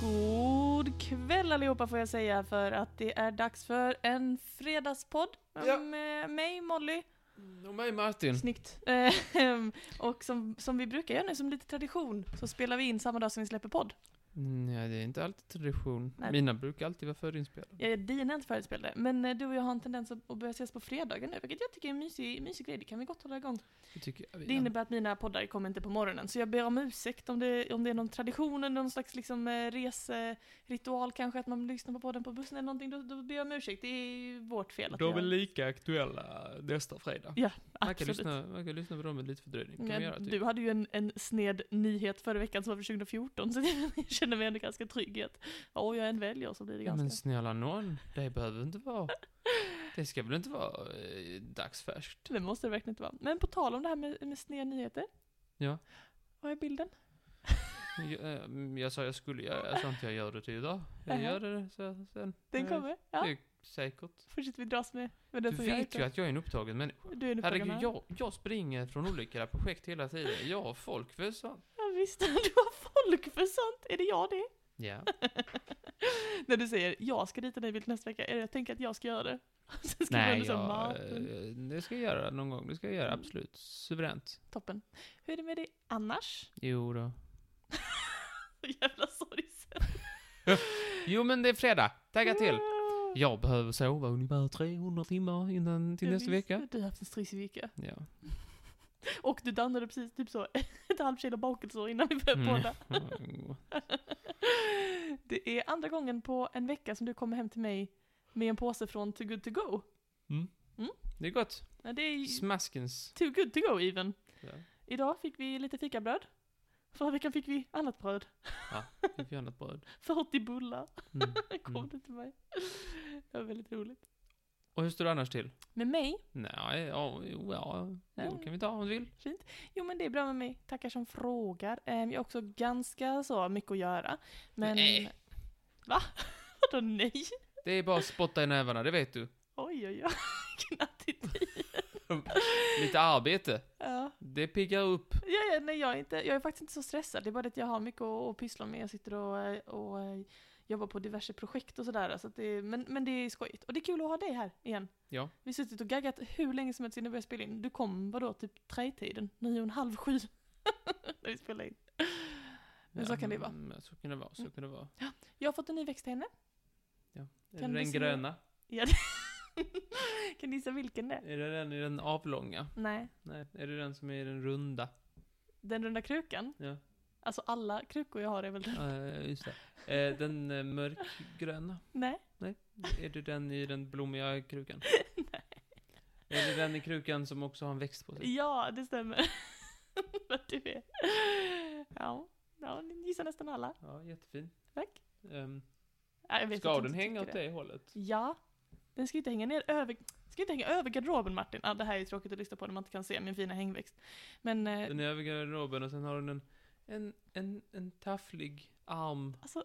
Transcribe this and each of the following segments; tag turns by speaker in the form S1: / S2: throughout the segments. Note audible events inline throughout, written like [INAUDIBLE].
S1: God kväll allihopa får jag säga för att det är dags för en fredagspodd
S2: Ja.
S1: med mig, Molly.
S2: Och mig Martin.
S1: Snyggt. Ehm, och som, som vi brukar göra nu som lite tradition så spelar vi in samma dag som vi släpper podd.
S2: Nej, Mm, det är inte alltid tradition.
S1: Nej.
S2: Mina brukar alltid vara förinspelade.
S1: Jag är dina inte förutspelade, men eh, du och jag har en tendens att att börja ses på fredagar nu, vilket jag tycker är en mysig, mysig grej. Det kan vi gott hålla igång.
S2: Det tycker jag.
S1: Det innebär att mina poddar kommer inte på morgonen, så jag ber om ursäkt om det, om det är någon tradition eller någon slags liksom, eh, reseritual kanske, att man lyssnar på podden på bussen eller någonting, då, då ber jag om ursäkt. Det är ju vårt fel. Att
S2: De är
S1: jag,
S2: lika aktuella nästa fredag. Man kan,
S1: absolut.
S2: lyssna, man kan lyssna på dem med lite fördröjning. Kan vi
S1: Men
S2: göra typ.
S1: du hade ju en, en sned nyhet förra veckan som var för 2014, så [LAUGHS] jag känner mig ändå ganska trygg i att vad jag än väljer så blir det
S2: Ja,
S1: ganska...
S2: men snälla nån, det behöver inte vara.
S1: [LAUGHS]
S2: Det ska väl inte vara eh, dagsfärskt?
S1: Det måste det verkligen inte vara. Men på tal om det här med, med sned nyheter.
S2: Ja.
S1: Vad är bilden?
S2: Jag, eh, jag sa jag skulle göra jag sa inte jag gör det till idag. Jag
S1: Jaha.
S2: gör det så, sen.
S1: Den
S2: Nej,
S1: kommer? Ja,
S2: Det är säkert.
S1: fortsätter vi dras med, med den
S2: Du
S1: som jag
S2: vet ju
S1: heter.
S2: att jag är en upptagen människa.
S1: Du är en upptagen
S2: Herregud,
S1: man.
S2: jag, jag springer från olika projekt hela tiden. Jag har folk för sånt.
S1: Ja, visst, [LAUGHS] du har folk för sånt. Är det jag det? [LAUGHS]
S2: Ja.
S1: När du säger jag ska rita dig bild nästa vecka, är det jag tänker att jag ska göra det? [LAUGHS] Sen skriver du
S2: Nej,
S1: under så här,
S2: jag,
S1: Martin.
S2: eh, det ska jag göra någon gång. Det ska jag göra,
S1: Mm.
S2: absolut. Suveränt.
S1: Toppen. Hur är det med dig annars? [LAUGHS]
S2: Jo då.
S1: Jävla sorgsen.
S2: Jo, men det är fredag. Tagga till.
S1: Ja.
S2: Mm. Jag behöver sova ungefär 300 timmar innan till
S1: Ja,
S2: nästa
S1: visst,
S2: vecka.
S1: Du har haft en stressig vecka.
S2: Ja.
S1: Och du dannade precis typ så [LAUGHS] ett halvt kilo bakelser innan vi började
S2: Mm.
S1: podda. [LAUGHS]
S2: Mm.
S1: Det är andra gången på en vecka som du kommer hem till mig med en påse från Too Good To Go. Mm.
S2: [LAUGHS] Det är gott.
S1: Ja, det är ju
S2: Smaskens.
S1: Too Good To Go even.
S2: Ja.
S1: Idag fick vi lite fikabröd. Förra veckan fick vi annat bröd.
S2: Vi får göra något bröd.
S1: 40 bullar
S2: [LAUGHS] Mm.
S1: [LAUGHS] kom
S2: Mm.
S1: det till mig. Det var väldigt roligt.
S2: Och hur står det annars till?
S1: Med mig?
S2: Nej, ja, jo, ja,
S1: Ja.
S2: jo, kan vi ta om du vill.
S1: Jo men det är bra med mig. Tackar som frågar. Ehm, Jag har också ganska så mycket att göra. Men...
S2: Nej.
S1: Va? [LAUGHS] Vadå nej?
S2: Det är bara att spotta i nävarna, det [LAUGHS] vet du.
S1: Oj oj [LAUGHS] oj. Vilken attityd.
S2: [LAUGHS] Lite arbete.
S1: Ja.
S2: Det piggar upp.
S1: Ja, ja, nej, jag, är inte, jag är faktiskt inte så stressad. Det är bara det att jag har mycket att, att pyssla med. Jag sitter och, eh, och eh, jobbar på diverse projekt och sådär. Så att det, men, men det är skojigt. Och det är kul att ha dig här igen.
S2: Ja.
S1: Vi har suttit och gaggat hur länge som helst innan vi började spela in. Du kom vadå, typ tretiden? Nio och en halv, sju? [LAUGHS] när vi spelade in. Men så kan det vara.
S2: mm, Så kan det vara, så kan det vara.
S1: Jag har fått en ny växt
S2: [LAUGHS]
S1: till henne.
S2: Är
S1: Kan
S2: det
S1: du
S2: den
S1: se-
S2: gröna?
S1: Ja, det- kan du gissa vilken det är?
S2: Är det den i den avlånga?
S1: Nej.
S2: Nej, är det den som är i den runda?
S1: Den runda krukan?
S2: Ja,
S1: Alltså alla krukor jag har är väl den?
S2: eh, just det. Eh, den eh, mörkgröna?
S1: Nej.
S2: Är det den i den
S1: [LAUGHS]
S2: blommiga krukan? Nej. Är det den i krukan som också har en växt på sig?
S1: Ja, det stämmer. [LAUGHS] Vad du är. Ja, ja, ni gissar nästan alla.
S2: Ja, jättefin.
S1: Tack.
S2: Um,
S1: Ja, jag vet att
S2: ska
S1: du
S2: den
S1: inte
S2: hänga åt
S1: tycker
S2: det hållet?
S1: Ja. Den ska ju inte hänga ner över, ska inte hänga över garderoben Martin. Ah, det här är ju tråkigt att lyssna på när man inte kan se min fina hängväxt. Men eh,
S2: Den är över garderoben och sen har den en, en, en, en tafflig arm
S1: alltså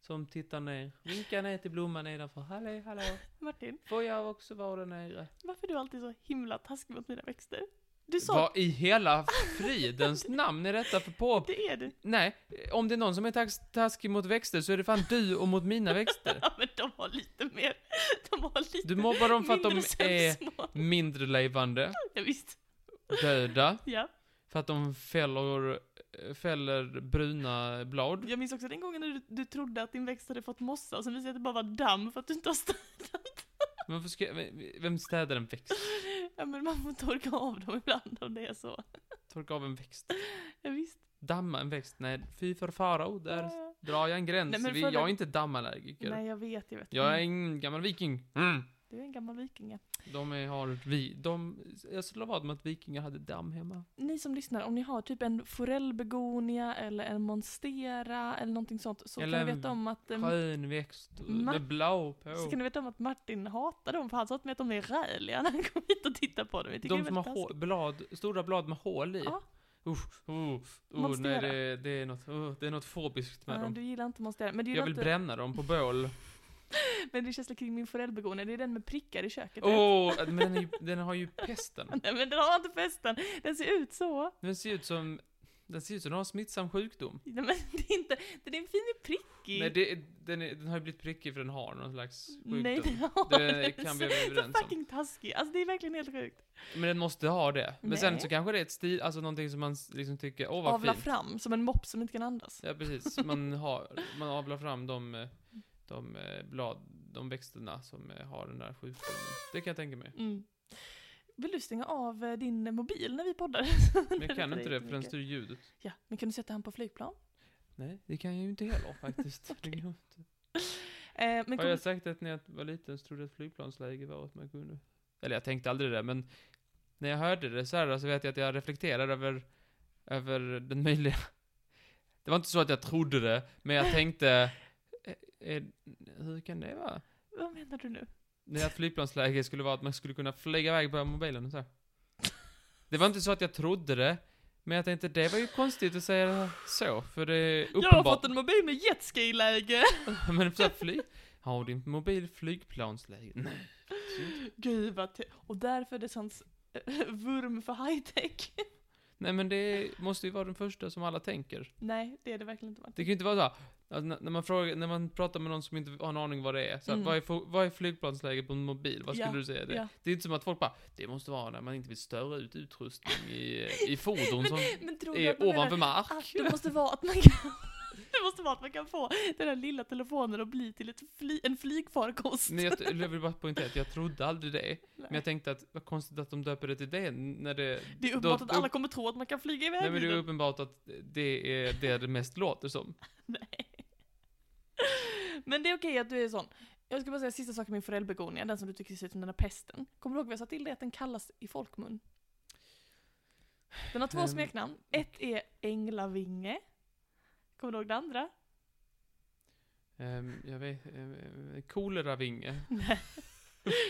S2: som tittar ner. Vinkar ner till blomman nedanför. Hallå, hallå.
S1: Martin,
S2: Får jag också vara där nere?
S1: varför är du alltid så himla taskig mot mina växter? Du sa
S2: Vad i hela fridens namn är detta för på...
S1: det är du.
S2: Nej, om det är någon som är tax- taskig mot växter så är det fan du och mot mina växter.
S1: [LAUGHS] Ja men de har lite mer, de har lite
S2: Du mobbar dem för att de
S1: mindre
S2: är
S1: sömnsmål.
S2: mindre levande,
S1: Ja, visst.
S2: döda,
S1: Ja.
S2: för att de fäller, fäller bruna blad.
S1: Jag minns också den gången när du, du trodde att din växt hade fått mossa och sen visade det sig att det bara var damm för att du inte har städat.
S2: Men varför ska, vem städar en växt?
S1: [LAUGHS] Ja men man får torka av dem ibland om det är så.
S2: Torka av en växt.
S1: Ja, visst.
S2: Damma en växt? Nej, fy för farao, där
S1: Ja.
S2: drar jag en gräns.
S1: Nej, men
S2: Vi-
S1: förra-
S2: Jag är inte dammallergiker.
S1: Nej jag vet, jag vet. Mm.
S2: Jag är en gammal viking. Mm.
S1: Du är en gammal vikinge.
S2: De är, har vi, de, jag slår vad med att vikingar hade damm hemma.
S1: Ni som lyssnar, om ni har typ en forellbegonia eller en monstera eller någonting sånt så
S2: Eller
S1: kan ni
S2: en
S1: veta om att ehm,
S2: Skön växt,
S1: Ma-
S2: med blå på.
S1: så kan ni veta om att Martin hatar dem för han sa till mig att de är räliga när han kom hit och tittade på dem. Jag tycker det
S2: De
S1: är
S2: som har
S1: väldigt
S2: hå- blad, stora blad med hål i.
S1: Ja.
S2: Usch, oh, oh, nej
S1: Monstera.
S2: det, det, är något, oh, det är något fobiskt med
S1: taskigt. Ja,
S2: dem.
S1: du gillar inte monstera. Men, du
S2: Jag
S1: gillar
S2: vill
S1: inte,
S2: bränna dem på bål.
S1: men det känns lite kring min forellbegonia, det är den med prickar i köket. vet.
S2: Åh, men
S1: [LAUGHS]
S2: den, är, ju- den har ju pesten.
S1: Nej men den har inte festen, den ser ut så.
S2: Den ser ut som, Den ser ut som den har smittsam sjukdom.
S1: Nej, men det är inte, den är en fin prickig.
S2: Nej, det, den, är, den har ju blivit prickig för den har någon slags sjukdom.
S1: Nej, det har
S2: Det
S1: den
S2: kan
S1: så-
S2: vi vara överens
S1: Så
S2: om.
S1: fucking taskig. Alltså det är verkligen helt sjukt.
S2: Men den måste ha det. Men sen
S1: Nej.
S2: så kanske det är ett stil, alltså någonting som man s- liksom tycker, åh vad
S1: Avla
S2: fint.
S1: fram som en mopp som inte kan andas.
S2: Ja, precis. Man, har, man avlar fram de, eh, de eh, blad, de växterna som eh, har den där sjukdomen. Det kan jag tänka mig.
S1: Mm. Vill du stänga av eh, din eh, mobil när vi poddar?
S2: Men jag kan inte det för den
S1: jättemycket.
S2: styr ljudet.
S1: Ja, men kan du sätta han på flygplan?
S2: Nej, det kan jag ju inte heller
S1: [LAUGHS]
S2: faktiskt. Det kan jag inte.
S1: Eh, men
S2: Har
S1: kom,
S2: jag sagt att när jag var liten så trodde jag att flygplansläge var att man kunde? Eller jag tänkte aldrig det, men när jag hörde det så här så vet jag att jag reflekterade över, över den möjliga... Det var inte så att jag trodde det, men jag tänkte... eh, eh, Hur kan det vara?
S1: vad menar du nu?
S2: Det här flygplansläget skulle vara att man skulle kunna flyga iväg på mobilen och så. här. Det var inte så att jag trodde det, men jag tänkte det var ju konstigt att säga det här så, för det är
S1: Jag har
S2: uppenbart.
S1: fått en mobil med jetski-läge!
S2: [LAUGHS] Men så här, fly... Har din mobil flygplansläge? Nej.
S1: Gud vad te- Och därför det sånt [LAUGHS] vurm för high-tech. [LAUGHS]
S2: Nej men det måste ju vara den första som alla tänker.
S1: Nej, det är det verkligen inte.
S2: Det
S1: Martin.
S2: kan ju inte vara så här, att när- när man, frågar, när man pratar med någon som inte har en aning vad det är, så här,
S1: Mm.
S2: vad, är, fo- vad är flygplansläge på en mobil? Vad
S1: Ja,
S2: skulle du säga det?
S1: ja.
S2: Det är inte som att folk bara, det måste vara när man inte vill störa ut utrustning i, i fordon som
S1: [LAUGHS] Men tror du att
S2: är
S1: man menar
S2: ovanför mark. [LAUGHS]
S1: att det måste vara att man kan... [LAUGHS] Det måste vara att man kan få den där lilla telefonen att bli till ett fly, en flygfarkost.
S2: Nej, jag, t- jag vill bara poängtera att jag trodde aldrig det.
S1: Nej.
S2: Men jag tänkte att vad konstigt att de döper det till det när det...
S1: det är
S2: då-
S1: uppenbart att alla
S2: upp-
S1: kommer tro att man kan flyga iväg
S2: Nej men det
S1: i
S2: är
S1: den.
S2: uppenbart att det är det det mest låter som.
S1: [LAUGHS] Men det är okej att du är sån. Jag ska bara säga sista saken med forellbegonia, den som du tycker ser ut som den där pesten. Kommer du ihåg vad jag sa till dig att den kallas i folkmun? Den har två
S2: Ehm,
S1: smeknamn. Ett är änglavinge. Kommer du ihåg det andra? [LAUGHS]
S2: Ehm, jag vet... Um, koleravinge.
S1: Nej.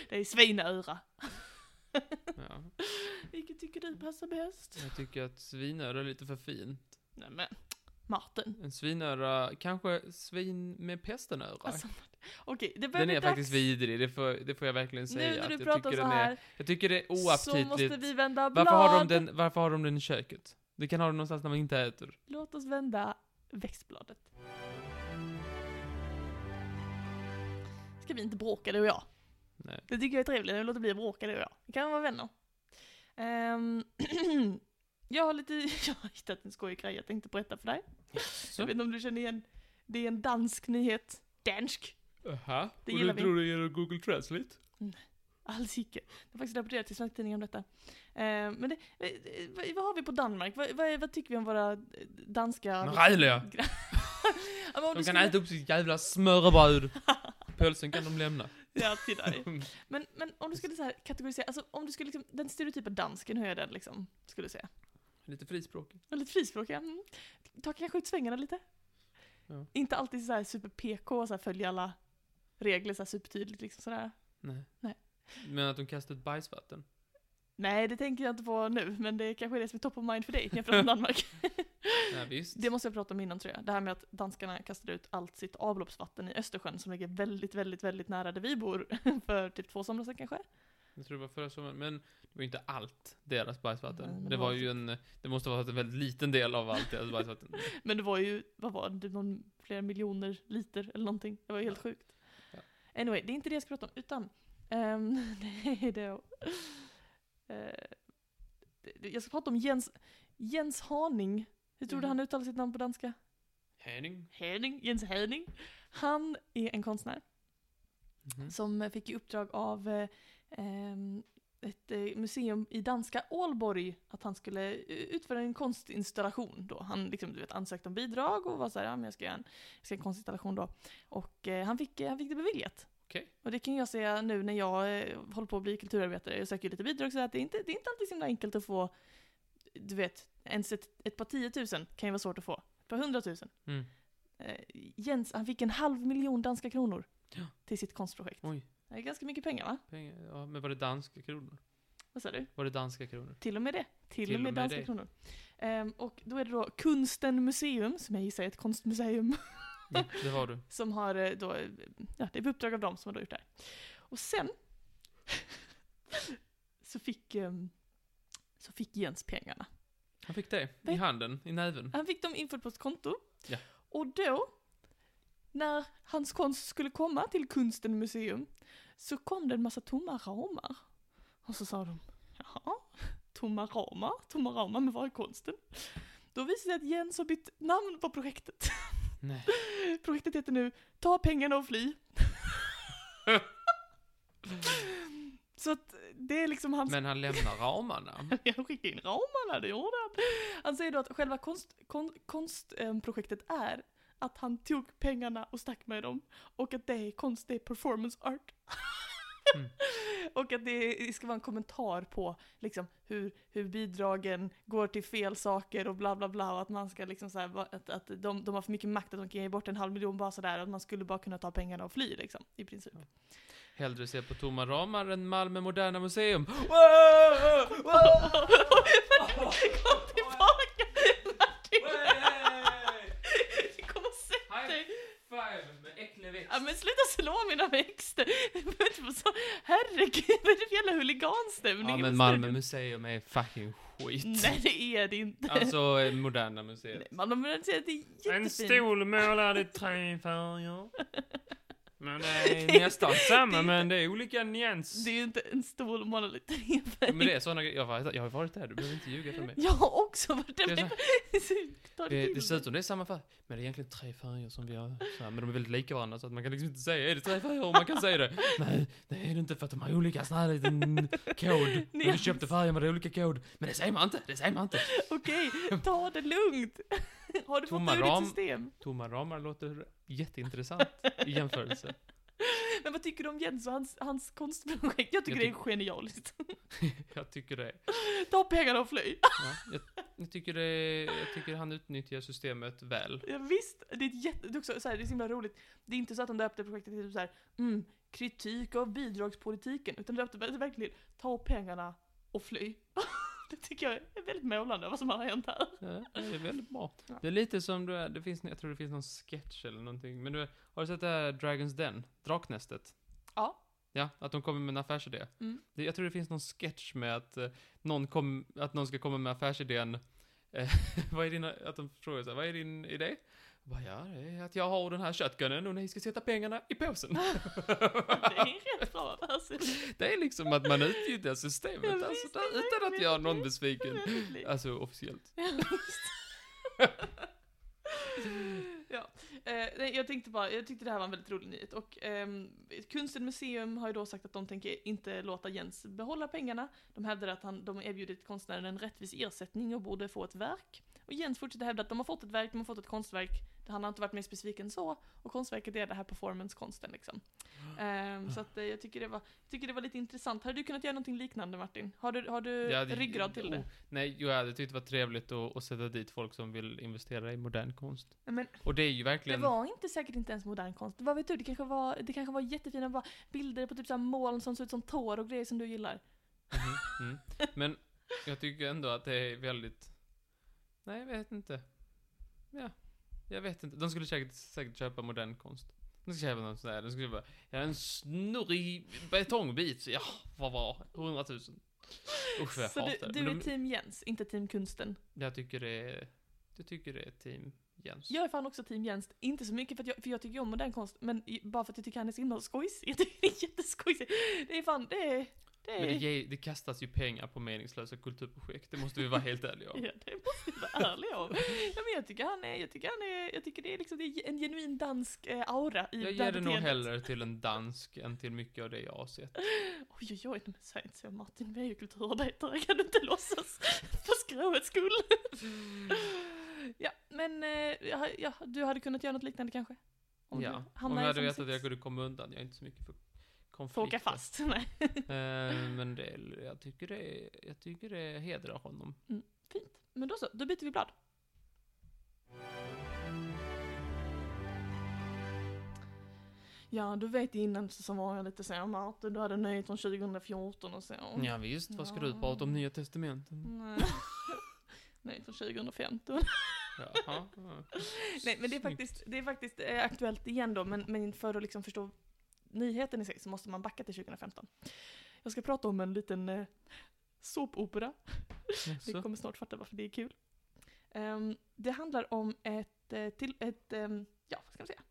S1: Det är svinöra. [LAUGHS]
S2: Ja.
S1: Vilket tycker du passar bäst?
S2: Jag tycker att svinöra är lite för fint.
S1: Nej men, Martin.
S2: En svinöra, kanske svin med pestenöra.
S1: Alltså, okej, det börjar
S2: den
S1: bli
S2: är
S1: dags.
S2: faktiskt vidrig, det får, det får jag verkligen säga.
S1: Nu när
S2: att
S1: du
S2: jag
S1: pratar
S2: tycker
S1: så
S2: den
S1: här
S2: Är, jag tycker det är
S1: så måste
S2: oaptitligt.
S1: vi vända blad.
S2: Varför har, de den, varför har de den i köket? Du kan ha den någonstans när man inte äter.
S1: Låt oss vända växtbladet. Ska vi inte bråka du och jag?
S2: Nej.
S1: Det tycker jag är trevligt, jag låter bli att bråka du och jag. Vi kan vara vänner. Ehm, [CLEARS THROAT] jag har lite, [LAUGHS] jag har hittat en skojig grej jag tänkte berätta för dig.
S2: Så.
S1: Jag vet inte om du känner igen, det är en dansk nyhet. Dansk.
S2: Aha.
S1: Det gillar vi.
S2: det genom Google Translate?
S1: Alls icke. Det har faktiskt rapporterats i svensk tidning om detta. Ehm, men det, eh, eh, vad, vad har vi på Danmark? Vad, vad, vad tycker vi om våra eh, danska...
S2: Men Rejliga!
S1: [LAUGHS] Ja, men om
S2: De
S1: du
S2: kan
S1: skulle-
S2: äta upp sitt
S1: [LAUGHS]
S2: jävla smörrebröd. Pölsen kan de lämna.
S1: Ja, till dig. Men, men om du skulle så här kategorisera, alltså om du skulle liksom, den stereotypa dansken, hur är den liksom? Skulle du säga.
S2: Lite frispråkig.
S1: Väldigt frispråkiga. Mm. Ta kanske ut svängarna lite.
S2: Ja.
S1: Inte alltid så här super PK, så här följa alla regler så här supertydligt liksom sådär.
S2: Nej.
S1: Nej.
S2: Men att de kastar ut bajsvatten.
S1: Nej, det tänker jag inte på nu, men det kanske är det som är top of mind för dig när jag pratar om Danmark.
S2: Ja, visst.
S1: Det måste jag prata om innan tror jag. Det här med att danskarna kastar ut allt sitt avloppsvatten i Östersjön som ligger väldigt, väldigt, väldigt nära där vi bor [LAUGHS] för typ två somrar sedan kanske.
S2: Jag tror det var förra sommaren. Men det var ju inte allt deras bajsvatten.
S1: Nej, men
S2: det
S1: det
S2: var
S1: var
S2: ju en... Det måste ha varit en väldigt liten del av allt deras
S1: [LAUGHS]
S2: bajsvatten.
S1: Men det var ju, vad var det, någon, flera miljoner liter eller någonting. Det var ju helt sjukt.
S2: Ja.
S1: Anyway, det är inte det jag ska prata om, utan ehm, [LAUGHS] det är då... eh, det- jag ska prata om Jens, Jens Haning. Hur tror du
S2: Mhm.
S1: han uttalar sitt namn på danska?
S2: Henning.
S1: Mm. Haning, Jens Haning. Han är en konstnär
S2: Mhm.
S1: som eh, fick i uppdrag av eh, ehm, ett eh, museum i danska Aalborg att han skulle eh, utföra en konstinstallation då. Han liksom, du vet, ansökte om bidrag och var såhär, ja men jag ska göra en, jag ska göra en konstinstallation då. Och eh, han, fick, eh, han fick det beviljat.
S2: Okej.
S1: Och det kan jag säga nu när jag eh, håller på att bli kulturarbetare, jag söker ju lite bidrag så att det är inte, det är inte alltid så himla enkelt att få, du vet, ens ett, ett par tiotusen kan ju vara svårt att få. Ett par hundratusen.
S2: Mm.
S1: Eh, Jens, han fick en halv miljon danska kronor
S2: Ja.
S1: till sitt konstprojekt.
S2: Oj.
S1: Det är ganska mycket pengar va?
S2: Pengar. Ja, men var det danska kronor?
S1: Vad sa du?
S2: Var det danska kronor?
S1: Till och med det. Till, och med danska
S2: det.
S1: kronor. Ehm, och då är det då Kunsten Museum, som jag gissar är ett konstmuseum, [LAUGHS]
S2: Ja, det var du.
S1: som har eh, då, eh, ja det är på uppdrag av dem som har då gjort det här. Och sen [LAUGHS] så fick, ehm, så fick Jens pengarna.
S2: Han fick det i
S1: Vet-
S2: handen, i näven.
S1: Han fick dem infört på ett konto.
S2: Ja.
S1: Och då, när hans konst skulle komma till Kunsten museum, så kom det en massa tomma ramar. Och så sa de, jaha, tomma ramar, tomma ramar, men var är konsten? Då visade det sig att Jens har bytt namn på projektet. [LAUGHS]
S2: Nej.
S1: Projektet heter nu Ta pengarna och fly. så att det är liksom hans
S2: Men han lämnar ramarna.
S1: jag skickade in ramarna, det gjorde han. Han säger då att själva konst, kon, konstprojektet är att han tog pengarna och stack med dem. Och att det är konst, det är performance art.
S2: Mm.
S1: [LAUGHS] och att det ska vara en kommentar på liksom, hur, hur bidragen går till fel saker och bla bla bla. Och att man ska liksom så här, va- att, att de, de har för mycket makt att de kan ge bort en halv miljon bara sådär. Och att man skulle bara kunna ta pengarna och fly liksom, i princip. [LAUGHS]
S2: Hellre se på tomma ramar än Malmö Moderna [LAUGHS] Museum.
S1: Kom tillbaka! [LAUGHS] Martin. Kom och sätt dig!
S2: five med äcklig växt.
S1: Ja, men sluta slå mina växter! [LAUGHS] Herregud, vad är det för jävla huliganstämning?
S2: Ja,
S1: i
S2: men
S1: studion?
S2: Malmö Museum är fucking skit.
S1: Nej, det är det inte.
S2: Alltså, eh, Moderna
S1: Nej,
S2: Museet.
S1: Malmö men det är jättefint.
S2: målad i tre färger. Men det
S1: [LAUGHS] Det är-
S2: är nästan samma,
S1: det-
S2: men det är olika nyans.
S1: Det är ju inte en stol monolith.
S2: Men det är såna grejer. Jag har, jag har varit där, du behöver inte ljuga för mig.
S1: Jag har också varit
S2: Det
S1: där.
S2: är så
S1: men-
S2: här,
S1: Ta det
S2: det,
S1: till
S2: det ser ut
S1: dig.
S2: som Eh, det är samma färg, men det är egentligen tre färger som vi har. Så här, men de är väldigt lika varandra så att man kan liksom inte säga, är det tre färger? Om man kan säga det. Nej, det är det inte för att de har olika sån här liten kod. Men vi
S1: Nyans.
S2: köpte färger med olika kod. Men det säger man inte, det säger man inte.
S1: Okej, ta det lugnt. Har du fått
S2: Tomma
S1: ur ditt
S2: ram.
S1: system?
S2: Tomma ramar låter jätteintressant i jämförelse.
S1: Men vad tycker du om Jens och hans, hans konstprojekt? Jag tycker
S2: Jag
S1: det är genialiskt.
S2: Jag tycker det.
S1: Ta pengarna och fly.
S2: Ja, jag, jag, tycker det jag tycker han utnyttjar systemet väl.
S1: Ja, visst, det är, ett jätte, det, är också, så här, det är så himla roligt. Det är inte så att de döpte projektet till typ så här, mm, kritik av bidragspolitiken, utan de döpte det verkligen till ta pengarna och fly. [LAUGHS] det tycker jag är väldigt målande vad som har hänt här.
S2: Ja, det är väldigt bra.
S1: Ja.
S2: Det är lite som du är, det finns, jag tror det finns någon sketch eller någonting. Men du, har du sett det här Dragons Den? Draknästet?
S1: Ja.
S2: Ja, att de kommer med en affärsidé.
S1: Mm.
S2: Det, jag tror det finns någon sketch med att, eh, någon, kom, att någon ska komma med affärsidén. Eh, [LAUGHS] vad är din, att de frågar så här, vad är din idé? Jag Bara, ja, det är att jag har den här köttgunnen och ni ska sätta pengarna
S1: [LAUGHS]
S2: i påsen.
S1: Det är en rätt bra alltså. affärsidé.
S2: det är liksom att man utnyttjar systemet
S1: Ja,
S2: alltså,
S1: visst, det är
S2: där, utan att
S1: verkligen
S2: göra någon
S1: det.
S2: besviken.
S1: Väldigt.
S2: Alltså officiellt.
S1: Ja, visst. [LAUGHS] ja. Eh, nej, jag tänkte bara, jag tyckte det här var en väldigt rolig nyhet och ehm, Kunsten Museum har ju då sagt att de tänker inte låta Jens behålla pengarna. De hävdar att han, de erbjudit konstnären en rättvis ersättning och borde få ett verk. Och Jens fortsätter hävda att de har fått ett verk, de har fått ett konstverk. Han har inte varit mer specifik än så. Och konstverket är det här performancekonsten liksom. Ehm, så att, eh, jag, tycker det var, jag tycker det var lite intressant. Hade du kunnat göra någonting liknande Martin? Har du, har du
S2: Ja, det-
S1: ryggrad till det?
S2: oh, nej, jo, jag hade tyckt det var trevligt att, att sätta dit folk som vill investera i modern konst.
S1: Nej, Men
S2: Och det är ju
S1: Det
S2: verkligen...
S1: var inte säkert inte ens modern konst. Vad vet du, det kanske var, det kanske var jättefina bara bilder på typ så här moln som ser ut som tår och grejer som du gillar.
S2: Mhm, mm. Men jag tycker ändå att det är väldigt... Nej, jag vet inte. Ja, jag vet inte. De skulle säkert, säkert köpa modern konst. De skulle köpa något sådär. De skulle köpa ja, en snurrig betongbit. Ja, vad var 100 000. Usch, vad jag
S1: Så
S2: hatar
S1: du,
S2: det.
S1: du
S2: Men
S1: är
S2: de,
S1: team Jens, inte team kunsten.
S2: jag tycker det är... Jag tycker det är team Jens.
S1: Jag är fan också team Jens, inte så mycket för att jag, för jag tycker ju om modern konst, men i- bara för att jag tycker han är så himla skojsig. [LAUGHS] Jag tycker det är jätteskojsigt. Det är fan, det är... Det är
S2: Men det, ge, det kastas ju pengar på meningslösa kulturprojekt, det måste vi vara helt
S1: [LAUGHS]
S2: ärliga om.
S1: [LAUGHS] Ja, det måste jag vara ärlig om. Ja, men jag tycker han är, jag tycker han är, jag tycker det är liksom det är en genuin dansk eh, aura i
S2: Jag
S1: här
S2: ger det nog
S1: beteendet.
S2: hellre till en dansk än till mycket av det jag har sett.
S1: Oj, oj, oj, men säg inte så Martin, vi är ju kulturarbetare, kan du inte låtsas? För skrovets skull. ja, men eh, ja, ja, du hade kunnat göra något liknande kanske? Om
S2: ja.
S1: du
S2: Om
S1: hamnar
S2: jag
S1: i
S2: hade
S1: samma
S2: vetat att jag
S1: sits.
S2: kunde komma undan, jag är inte så mycket för konflikter.
S1: Får åka fast, [LAUGHS] nej.
S2: Eh, men det, jag, tycker det, jag tycker det hedrar honom.
S1: Fint. Men då så, då byter vi blad. Ja, du vet innan så var jag lite så, Martin, du hade nöjet från 2014 och så. [LAUGHS]
S2: Mm. Ja, visst, vad ska du prata om Nya Testamenten?
S1: Nej. Nej, från 2015.
S2: Jaha. ja.
S1: [LAUGHS] Nej, men det är
S2: Snyggt.
S1: faktiskt, det är faktiskt eh, aktuellt igen då, men, men för att liksom förstå nyheten i sig så måste man backa till 2015. Jag ska prata om en liten eh, såpopera. Ni
S2: Jaså?
S1: kommer snart fatta varför det är kul. Ehm, det handlar om ett, eh, till, ett ehm, ja, vad ska man säga?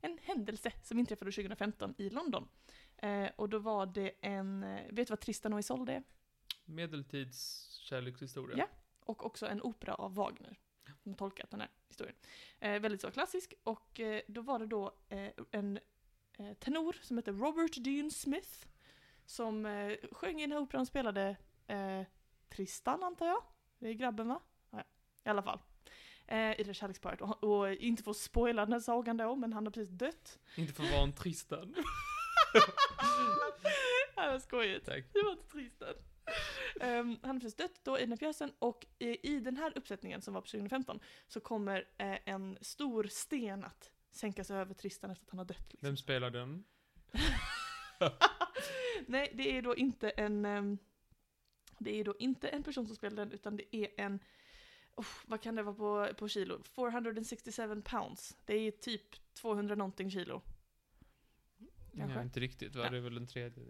S1: En händelse som inträffade 2015 i London. Eh, och då var det en, eh, vet du vad Tristan och Isolde är?
S2: Medeltids kärlekshistoria.
S1: Ja. Och också en opera av Wagner. Som har tolkat den här historien. Eh, väldigt så klassisk. Och eh, då var det då eh, en eh, tenor som hette Robert Dean Smith. Som eh, sjöng i den här operan och spelade eh, Tristan antar jag. Det är grabben va? Ja, I alla fall. Eh, I det här kärleksparet. Och, och eh, inte för att spoila den här sagan då, men han har precis dött. [LAUGHS]
S2: Inte för att vara en Tristan.
S1: det var skojigt.
S2: Tack.
S1: Det var inte Tristan. Ehm, han har precis dött då i den här pjäsen och i, i den här uppsättningen som var på 2015 så kommer eh, en stor sten att sänkas över Tristan efter att han har dött. Liksom.
S2: Vem spelar den?
S1: [LAUGHS] Nej, det är då inte en... ehm, det är då inte en person som spelar den utan det är en... Oh, vad kan det vara på, på kilo? 467 pounds. Det är typ 200 någonting kilo. Kanske.
S2: Ja, inte riktigt, va?
S1: Ja.
S2: Det är väl en tredje.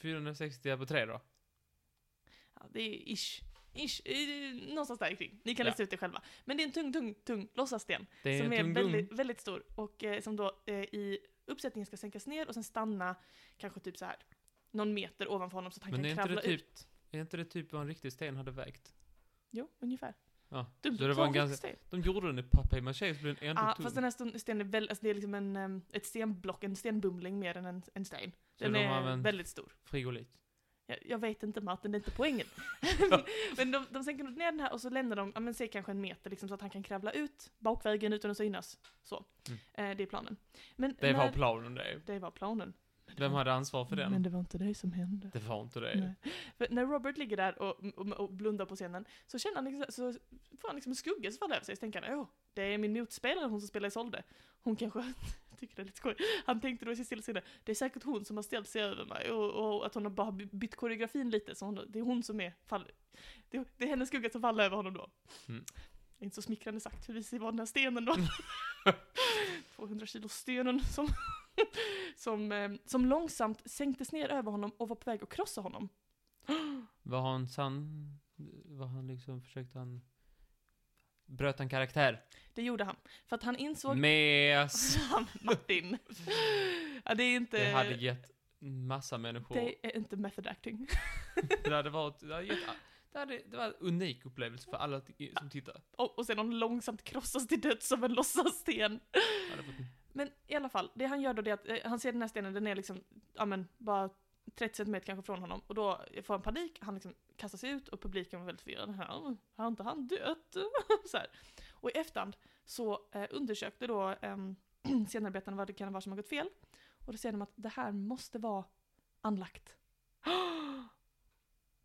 S2: 460 på tre då?
S1: Ja, det är ish. Ish, eh, någonstans där kring. Ni kan
S2: Ja.
S1: lista ut det själva. Men det är en tung, tung, tung låtsassten.
S2: Det är
S1: som
S2: en
S1: är
S2: tung
S1: väldigt, väldigt stor och eh, som då eh, i uppsättningen ska sänkas ner och sen stanna kanske typ så här någon meter ovanför honom så att han
S2: Men är
S1: kan
S2: inte det
S1: kravla
S2: typ-
S1: ut.
S2: Är inte det typ vad en riktig sten hade vägt?
S1: Jo, ungefär.
S2: Ja.
S1: Dumt,
S2: så det var en
S1: två
S2: ganska...
S1: sten.
S2: De gjorde den i papier-maché, så blev den ändå
S1: Ja,
S2: tung.
S1: fast den här sten- stenen är väldigt, alltså det är liksom en, em, ett stenblock, en stenbumling mer än en, en sten.
S2: Så
S1: Den
S2: de
S1: är
S2: har använt-
S1: väldigt stor.
S2: Frigolit.
S1: Jag, jag vet inte Martin, det är inte
S2: [LAUGHS]
S1: poängen. [LAUGHS] men de, de sänker ner den här och så lämnar de, ja men säg kanske en meter liksom så att han kan kravla ut bakvägen utan att synas. Så.
S2: Mm.
S1: Eh, det är planen. Men
S2: Det var
S1: när-
S2: planen det.
S1: det var planen.
S2: Vem hade ansvar för den?
S1: Men det var inte det som hände.
S2: Det var inte det.
S1: Nej. För när Robert ligger där och, och, och blundar på scenen så känner han liksom, så får han liksom en skugga som faller över sig. Så tänker han, åh, det är min motspelare, hon som spelar Isolde. Hon kanske [LAUGHS] tycker det är lite skoj. Han tänkte då i sitt stilla sinne, det är säkert hon som har ställt sig över mig och, och att hon har bara by- bytt koreografin lite. Så hon, det är hon som är, fall, det, det är hennes skugga som faller över honom då.
S2: Mm.
S1: Det är inte så smickrande sagt, för vi ser var den här stenen
S2: [LAUGHS]
S1: då. [LAUGHS] 200 kilo stenen som, som, eh, som långsamt sänktes ner över honom och var på väg att krossa honom.
S2: Var han sann? Var han liksom, försökte han... Bröt han karaktär?
S1: Det gjorde han. För att han insåg... [LAUGHS]
S2: Mes!
S1: Han, Martin. ja, det är inte...
S2: Det hade gett massa människor... Det,
S1: det är inte method acting. [LAUGHS]
S2: hade varit... Det, hade gett, det, hade, det var en unik upplevelse för alla t- som tittar.
S1: Och, och sedan långsamt krossas till döds av en låtsassten.
S2: Det hade fått-
S1: Men i alla fall, det han gör då det är att eh, han ser den här stenen, den är liksom, ja men bara 30 centimeter kanske från honom. Och då får han panik, han liksom kastar sig ut och publiken var väldigt förvirrad. Här, har inte han dött? [LAUGHS] så här. Och i efterhand så eh, undersökte då eh, [CLEARS THROAT] scenarbetarna vad det kan vara som har gått fel. Och då säger de att det här måste vara anlagt. [GASPS]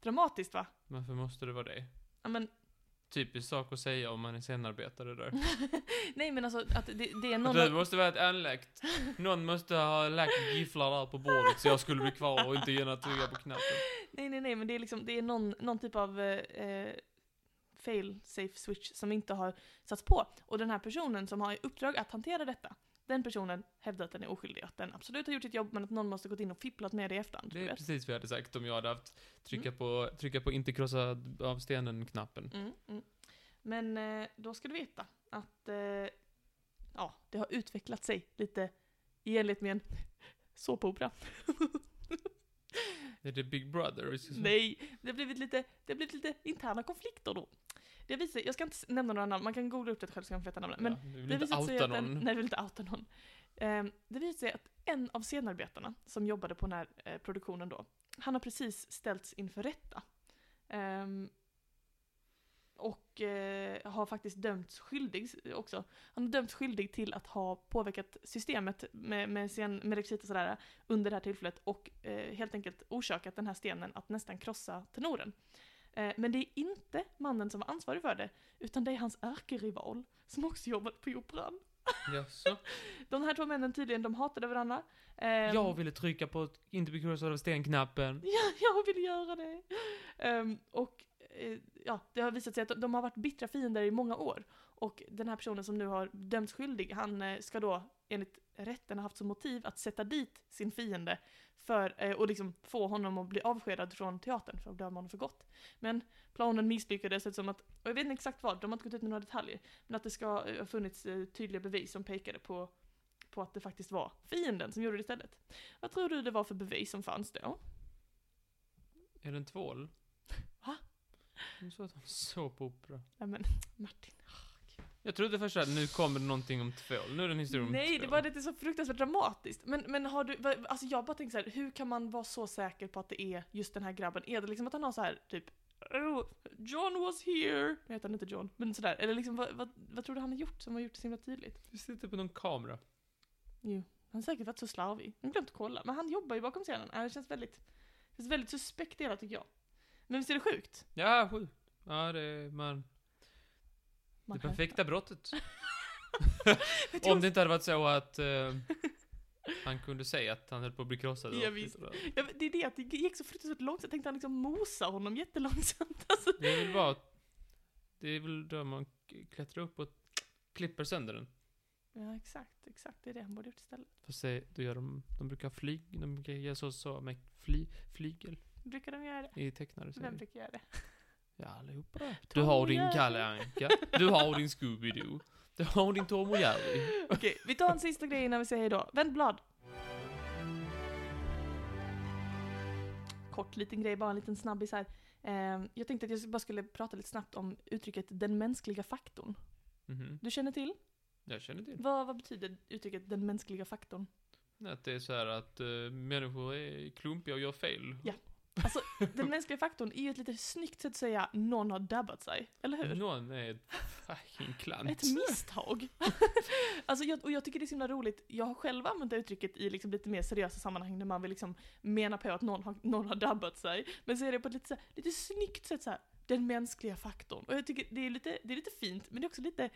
S1: Dramatiskt va?
S2: Varför måste det vara det?
S1: Ja, men, [LAUGHS]
S2: Typisk sak att säga om man är scenarbetare där.
S1: nej men alltså att det, det är någon...
S2: Det måste vara ett anlagt. Någon måste ha lagt gifflar där på bordet så jag skulle bli kvar och inte gärna trycka på knappen.
S1: Nej, nej, nej, men det är liksom, det är någon, någon typ av eh, eh, fail safe switch som inte har satts på. Och den här personen som har i uppdrag att hantera detta, den personen hävdar att den är oskyldig, att den absolut har gjort sitt jobb men att någon måste gått in och fipplat med det i efterhand.
S2: Det är
S1: vet.
S2: precis vad jag hade sagt om jag hade haft trycka på, trycka på inte krossa av stenen-knappen.
S1: Mm, mm. Men eh, då ska du veta att eh, ja, det har utvecklat sig lite i enlighet med en [LAUGHS] såpopera.
S2: Är det Big Brother? Vi ska-
S1: Nej, det har blivit lite, det har blivit lite interna konflikter då. Det visar, jag ska inte s- nämna några namn, man kan googla upp det själv så kan man få veta namnen. Men
S2: ja, vi vill
S1: Det
S2: inte
S1: visade sig
S2: outa
S1: att en,
S2: någon.
S1: nej, vi vill inte outa någon. Ehm, det visade sig att en av scenarbetarna som jobbade på den här eh, produktionen då, han har precis ställts inför rätta. Ehm, och eh, har faktiskt dömts skyldig också. Han har dömts skyldig till att ha påverkat systemet med, med, scen, med rekvisita och sådär under det här tillfället och eh, helt enkelt orsakat den här stenen att nästan krossa tenoren. Eh, men det är inte mannen som var ansvarig för det, utan det är hans ärkerival som också jobbade på operan.
S2: Jaså?
S1: Ehm. De här två männen tydligen, de hatade varandra. Ehm,
S2: Jag ville trycka på ett- inte bli krossad av stenknappen.
S1: Ja, [LAUGHS] jag vill göra det. Ehm, och eh, ja, det har visat sig att de, de har varit bittra fiender i många år. Och den här personen som nu har dömts skyldig, han eh, ska då enligt rätten har haft som motiv att sätta dit sin fiende för, eh, och liksom få honom att bli avskedad från teatern för att döma honom för gott. Men planen misslyckades eftersom att, och jag vet inte exakt vad, de har inte gått ut med några detaljer, men att det ska eh, ha funnits eh, tydliga bevis som pekade på, på att det faktiskt var fienden som gjorde det istället. Vad tror du det var för bevis som fanns då?
S2: Är det en tvål?
S1: Va?
S2: Hon sa att hon såg på opera.
S1: Nej men Martin.
S2: Jag trodde först att nu kommer det någonting om tvål. Nu är det en historia om
S1: Nej,
S2: tvål.
S1: det var lite så fruktansvärt dramatiskt. Men, men har du, vad- alltså jag bara tänker så här, hur kan man vara så säker på att det är just den här grabben? Är det liksom att han har så här typ oh, John was here. Nu heter han inte John, men sådär. Eller liksom vad, vad, vad tror du han har gjort som har gjort det så himla tydligt?
S2: Du sitter på någon kamera.
S1: Jo, han har säkert varit så slarvig. Jag har glömt att kolla, men han jobbar ju bakom scenen. Äh, Det känns väldigt, det känns väldigt suspekt det hela tycker jag. Men visst är det sjukt?
S2: Ja, sjukt. Ja, det är man.
S1: Man
S2: det perfekta brottet.
S1: [LAUGHS] Jag tror-
S2: [LAUGHS] Om det inte hade varit så att eh, han kunde säga att han höll på att bli krossad.
S1: Ja,
S2: Och-
S1: visst. Ja, men det är det att det gick så fruktansvärt långsamt. Jag tänkte han liksom mosa honom jättelångsamt. [LAUGHS] Alltså,
S2: Det är väl bara... Det är väl då man klättrar upp och klipper sönder den.
S1: Ja, exakt, exakt. Det är det han borde gjort istället.
S2: Fast det, då gör de... De brukar flyg... De brukar göra så, så med fly, flygel
S1: Brukar de göra det?
S2: i tecknare.
S1: Vem
S2: serier.
S1: brukar göra det?
S2: Ja, allihopa. Du
S1: Tom
S2: har
S1: och
S2: din
S1: Jerry.
S2: Kalle Anka. Du har din Scooby-Doo. Du har din Tom och Jerry.
S1: [LAUGHS] Okej, vi tar en sista grej innan vi säger hejdå. Vänd blad. Kort liten grej, bara en liten snabbis här. Eh, jag tänkte att jag bara skulle prata lite snabbt om uttrycket den mänskliga faktorn.
S2: Mhm.
S1: Du känner till?
S2: Jag känner till.
S1: Vad, vad betyder uttrycket den mänskliga faktorn?
S2: Att det är så här att eh, människor är klumpiga och gör fel.
S1: Ja, Den mänskliga faktorn är ju ett lite snyggt sätt att säga någon har dabbat sig, eller hur?
S2: Någon är ett fucking klant.
S1: Ett misstag? [LAUGHS] alltså jag, och jag tycker det är så himla roligt, jag har själv använt det uttrycket i liksom lite mer seriösa sammanhang där man vill liksom mena på att någon har, någon har dabbat sig. Men så är det på ett lite, så här, lite snyggt sätt så här. den mänskliga faktorn. Och jag tycker det är, lite, det är lite fint, men det är också lite,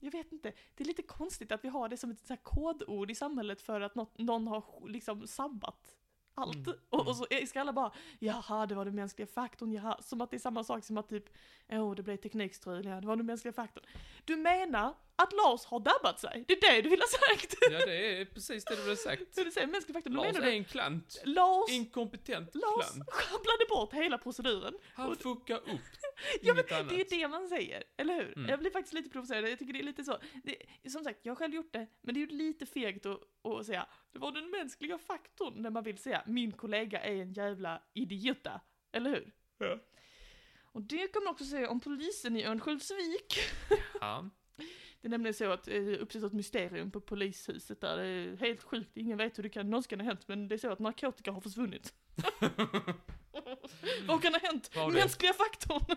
S1: jag vet inte, det är lite konstigt att vi har det som ett så här kodord i samhället för att något, någon har liksom sabbat. Allt.
S2: Mm,
S1: Och,
S2: mm.
S1: och så är- ska alla bara Jaha, det var den mänskliga faktorn, jaha. Som att det är samma sak som att typ, åh, det blev teknikstrul, ja, det var den mänskliga faktorn. Du menar att Lars har dabbat sig? Det är det du vill ha
S2: [LAUGHS]
S1: sagt?
S2: Ja, det är precis det du har sagt.
S1: Så du säger mänsklig faktor, då
S2: Lars
S1: menar
S2: är
S1: du
S2: en klant.
S1: Lars,
S2: Inkompetent
S1: Lars
S2: klant.
S1: sjabblade bort hela proceduren.
S2: Han fuckar upp.
S1: [LAUGHS] Ja, men
S2: Inget annat.
S1: det är ju det man säger, eller hur?
S2: Mm.
S1: Jag blir faktiskt lite provocerad, jag tycker det är lite så. Det, som sagt, jag har själv gjort det, men det är ju lite fegt att, att säga det var den mänskliga faktorn när man vill säga min kollega är en jävla idiota, eller hur?
S2: Ja.
S1: Och det kan man också säga om polisen i Örnsköldsvik.
S2: Ja.
S1: Det är nämligen så att eh, det uppstått ett mysterium på polishuset där. Det är helt sjukt, ingen vet hur det kan någonsin ha hänt, men det är så att narkotika har
S2: [LAUGHS]
S1: försvunnit. Vad kan ha hänt?
S2: Vad var det?
S1: Mänskliga faktorn! [LAUGHS]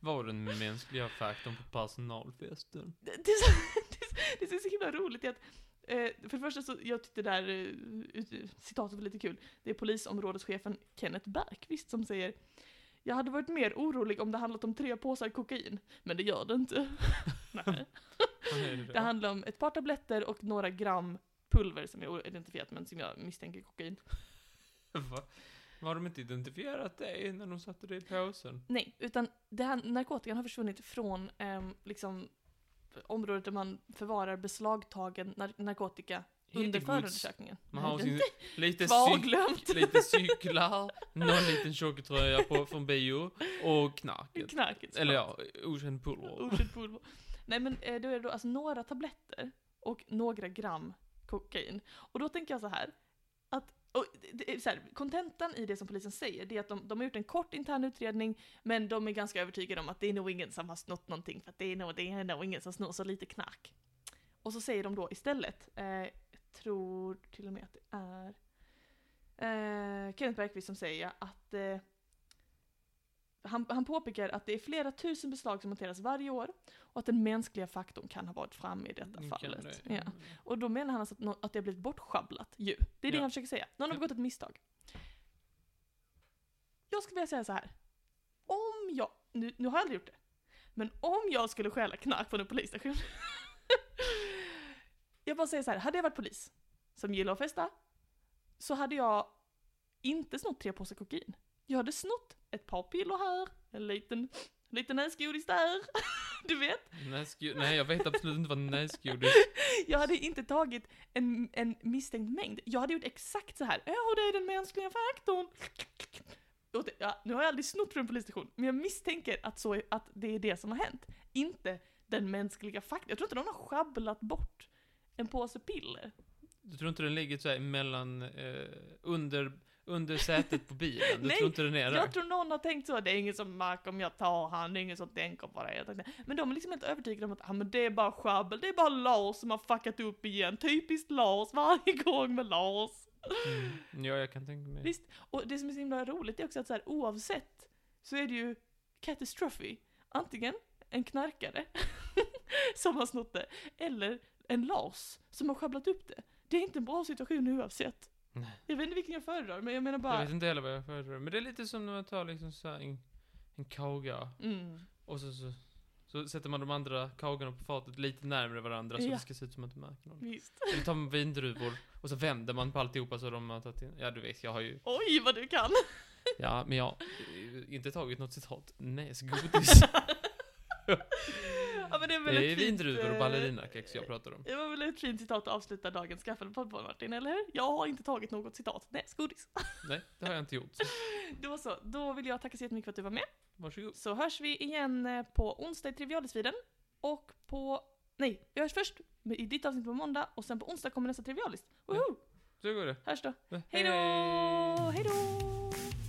S2: Var den mänskliga faktorn på personalfesten?
S1: Det, det, är så, det, är så- det som är så himla roligt är att eh, för det första så, jag tyckte det där eh, ut- citatet var lite kul. Det är polisområdeschefen Kenneth Bergqvist som säger Jag hade varit mer orolig om det handlat om tre påsar kokain, men det gör det inte. [LAUGHS] Nej. Det handlar om ett par tabletter och några gram pulver som jag identifierat men som jag misstänker är kokain.
S2: Va? Har de inte identifierat dig när de satte dig i påsen?
S1: Nej, utan det här, narkotikan har försvunnit från ehm, liksom, området där man förvarar beslagtagen nar- narkotika under
S2: Hittegods.
S1: förundersökningen.
S2: Man har
S1: Nej,
S2: sin lite, cyk,
S1: kvarglömt [LAUGHS]
S2: lite cyklar, någon liten tjocktröja på, från bio och knarket.
S1: knarket.
S2: Eller ja, okänd pulver.
S1: Okänd pulver. Nej men eh, då är det då alltså några tabletter och några gram kokain. Och då tänker jag så här. Att, och det- det är så här kontentan i det som polisen säger det är att de, de har gjort en kort intern utredning men de är ganska övertygade om att det är nog ingen som har snott någonting för att det är nog, det är nog ingen som snor så lite knark. Och så säger de då istället, eh, jag tror till och med att det är eh, Kenneth Bergqvist som säger att eh, han, han påpekar att det är flera tusen beslag som hanteras varje år och att den mänskliga faktorn kan ha varit framme i detta
S2: Ni Mm, kan
S1: fallet.
S2: det.
S1: Ja. Och då menar han alltså att, nå- att det har blivit bortschabblat ju. Det är det
S2: Ja.
S1: han försöker säga. Någon har
S2: Ja.
S1: begått ett misstag. Jag skulle vilja säga så här. Om jag, nu, nu har jag aldrig gjort det, men om jag skulle stjäla knark från en polisstation. [LAUGHS] jag bara säger så här, hade jag varit polis, som gillar att festa, så hade jag inte snott tre påsar kokain. Jag hade snott ett par piller här, en liten, en liten näsgodis där. [LAUGHS] Du vet?
S2: Näsgu- Nej, jag vet absolut inte vad näsgodis...
S1: Jag hade inte tagit en, en misstänkt mängd. Jag hade gjort exakt så här. Ja, det är den mänskliga faktorn. Och det, ja, nu har jag aldrig snott från en polisstation, men jag misstänker att, så, är- att det är det som har hänt. Inte den mänskliga faktorn. Jag tror inte någon har sjabblat bort en påse piller.
S2: Du tror inte den ligger så här mellan, eh, under, under sätet på bilen? Du
S1: Nej,
S2: tror inte den är där?
S1: Jag tror någon har tänkt så, det är ingen som märker om jag tar han, det är ingen som tänker på det. Jag tänkte, Men de är liksom helt övertygade om att ah, men det är bara sjabbel, det är bara Lars som har fuckat upp igen. Typiskt Lars, varje gång med Lars.
S2: Mm. Ja, jag kan tänka mig.
S1: Visst, och det som är så himla roligt är också att så här, oavsett så är det ju catastrophe. Antingen en knarkare [LAUGHS] som har snott det, eller en Lars som har sjabblat upp det. Det är inte en bra situation oavsett.
S2: Nej.
S1: Jag vet inte vilken jag föredrar, men jag menar
S2: Jag
S1: bara...
S2: vet inte heller vad jag föredrar. Men det är lite som när man tar liksom så här en, en kaga
S1: Mm.
S2: och så, så, så sätter man de andra kagorna på fatet lite närmare varandra så
S1: Ja.
S2: det ska se ut som att de märker någon.
S1: Visst.
S2: Eller tar man vindruvor och så vänder man på alltihopa så de har tagit in. Ja, du vet, jag har ju...
S1: Oj, vad du
S2: [LAUGHS]
S1: kan!
S2: Ja, men jag har eh, inte tagit något citat. Näsgodis.
S1: ja, men det är väl
S2: Det är
S1: ett fint,
S2: vindruvor och
S1: eh,
S2: ballerinakex jag pratar om.
S1: Det var väl ett fint citat att avsluta dagens skaffelpodd på, Martin, eller hur? Jag har inte tagit något citat. Nej, [LAUGHS] godis.
S2: Nej, det har jag inte gjort. Så
S1: Då så, då vill jag tacka så jättemycket för att du var med.
S2: varsågod.
S1: Så hörs vi igen eh, på onsdag i Trivialisviden. Och på... Nej, vi hörs först med- i ditt avsnitt på måndag och sen på onsdag kommer nästa Trivialist. Woho!
S2: Så går det.
S1: Hörs då!
S2: Hej
S1: Hej då! Hej då!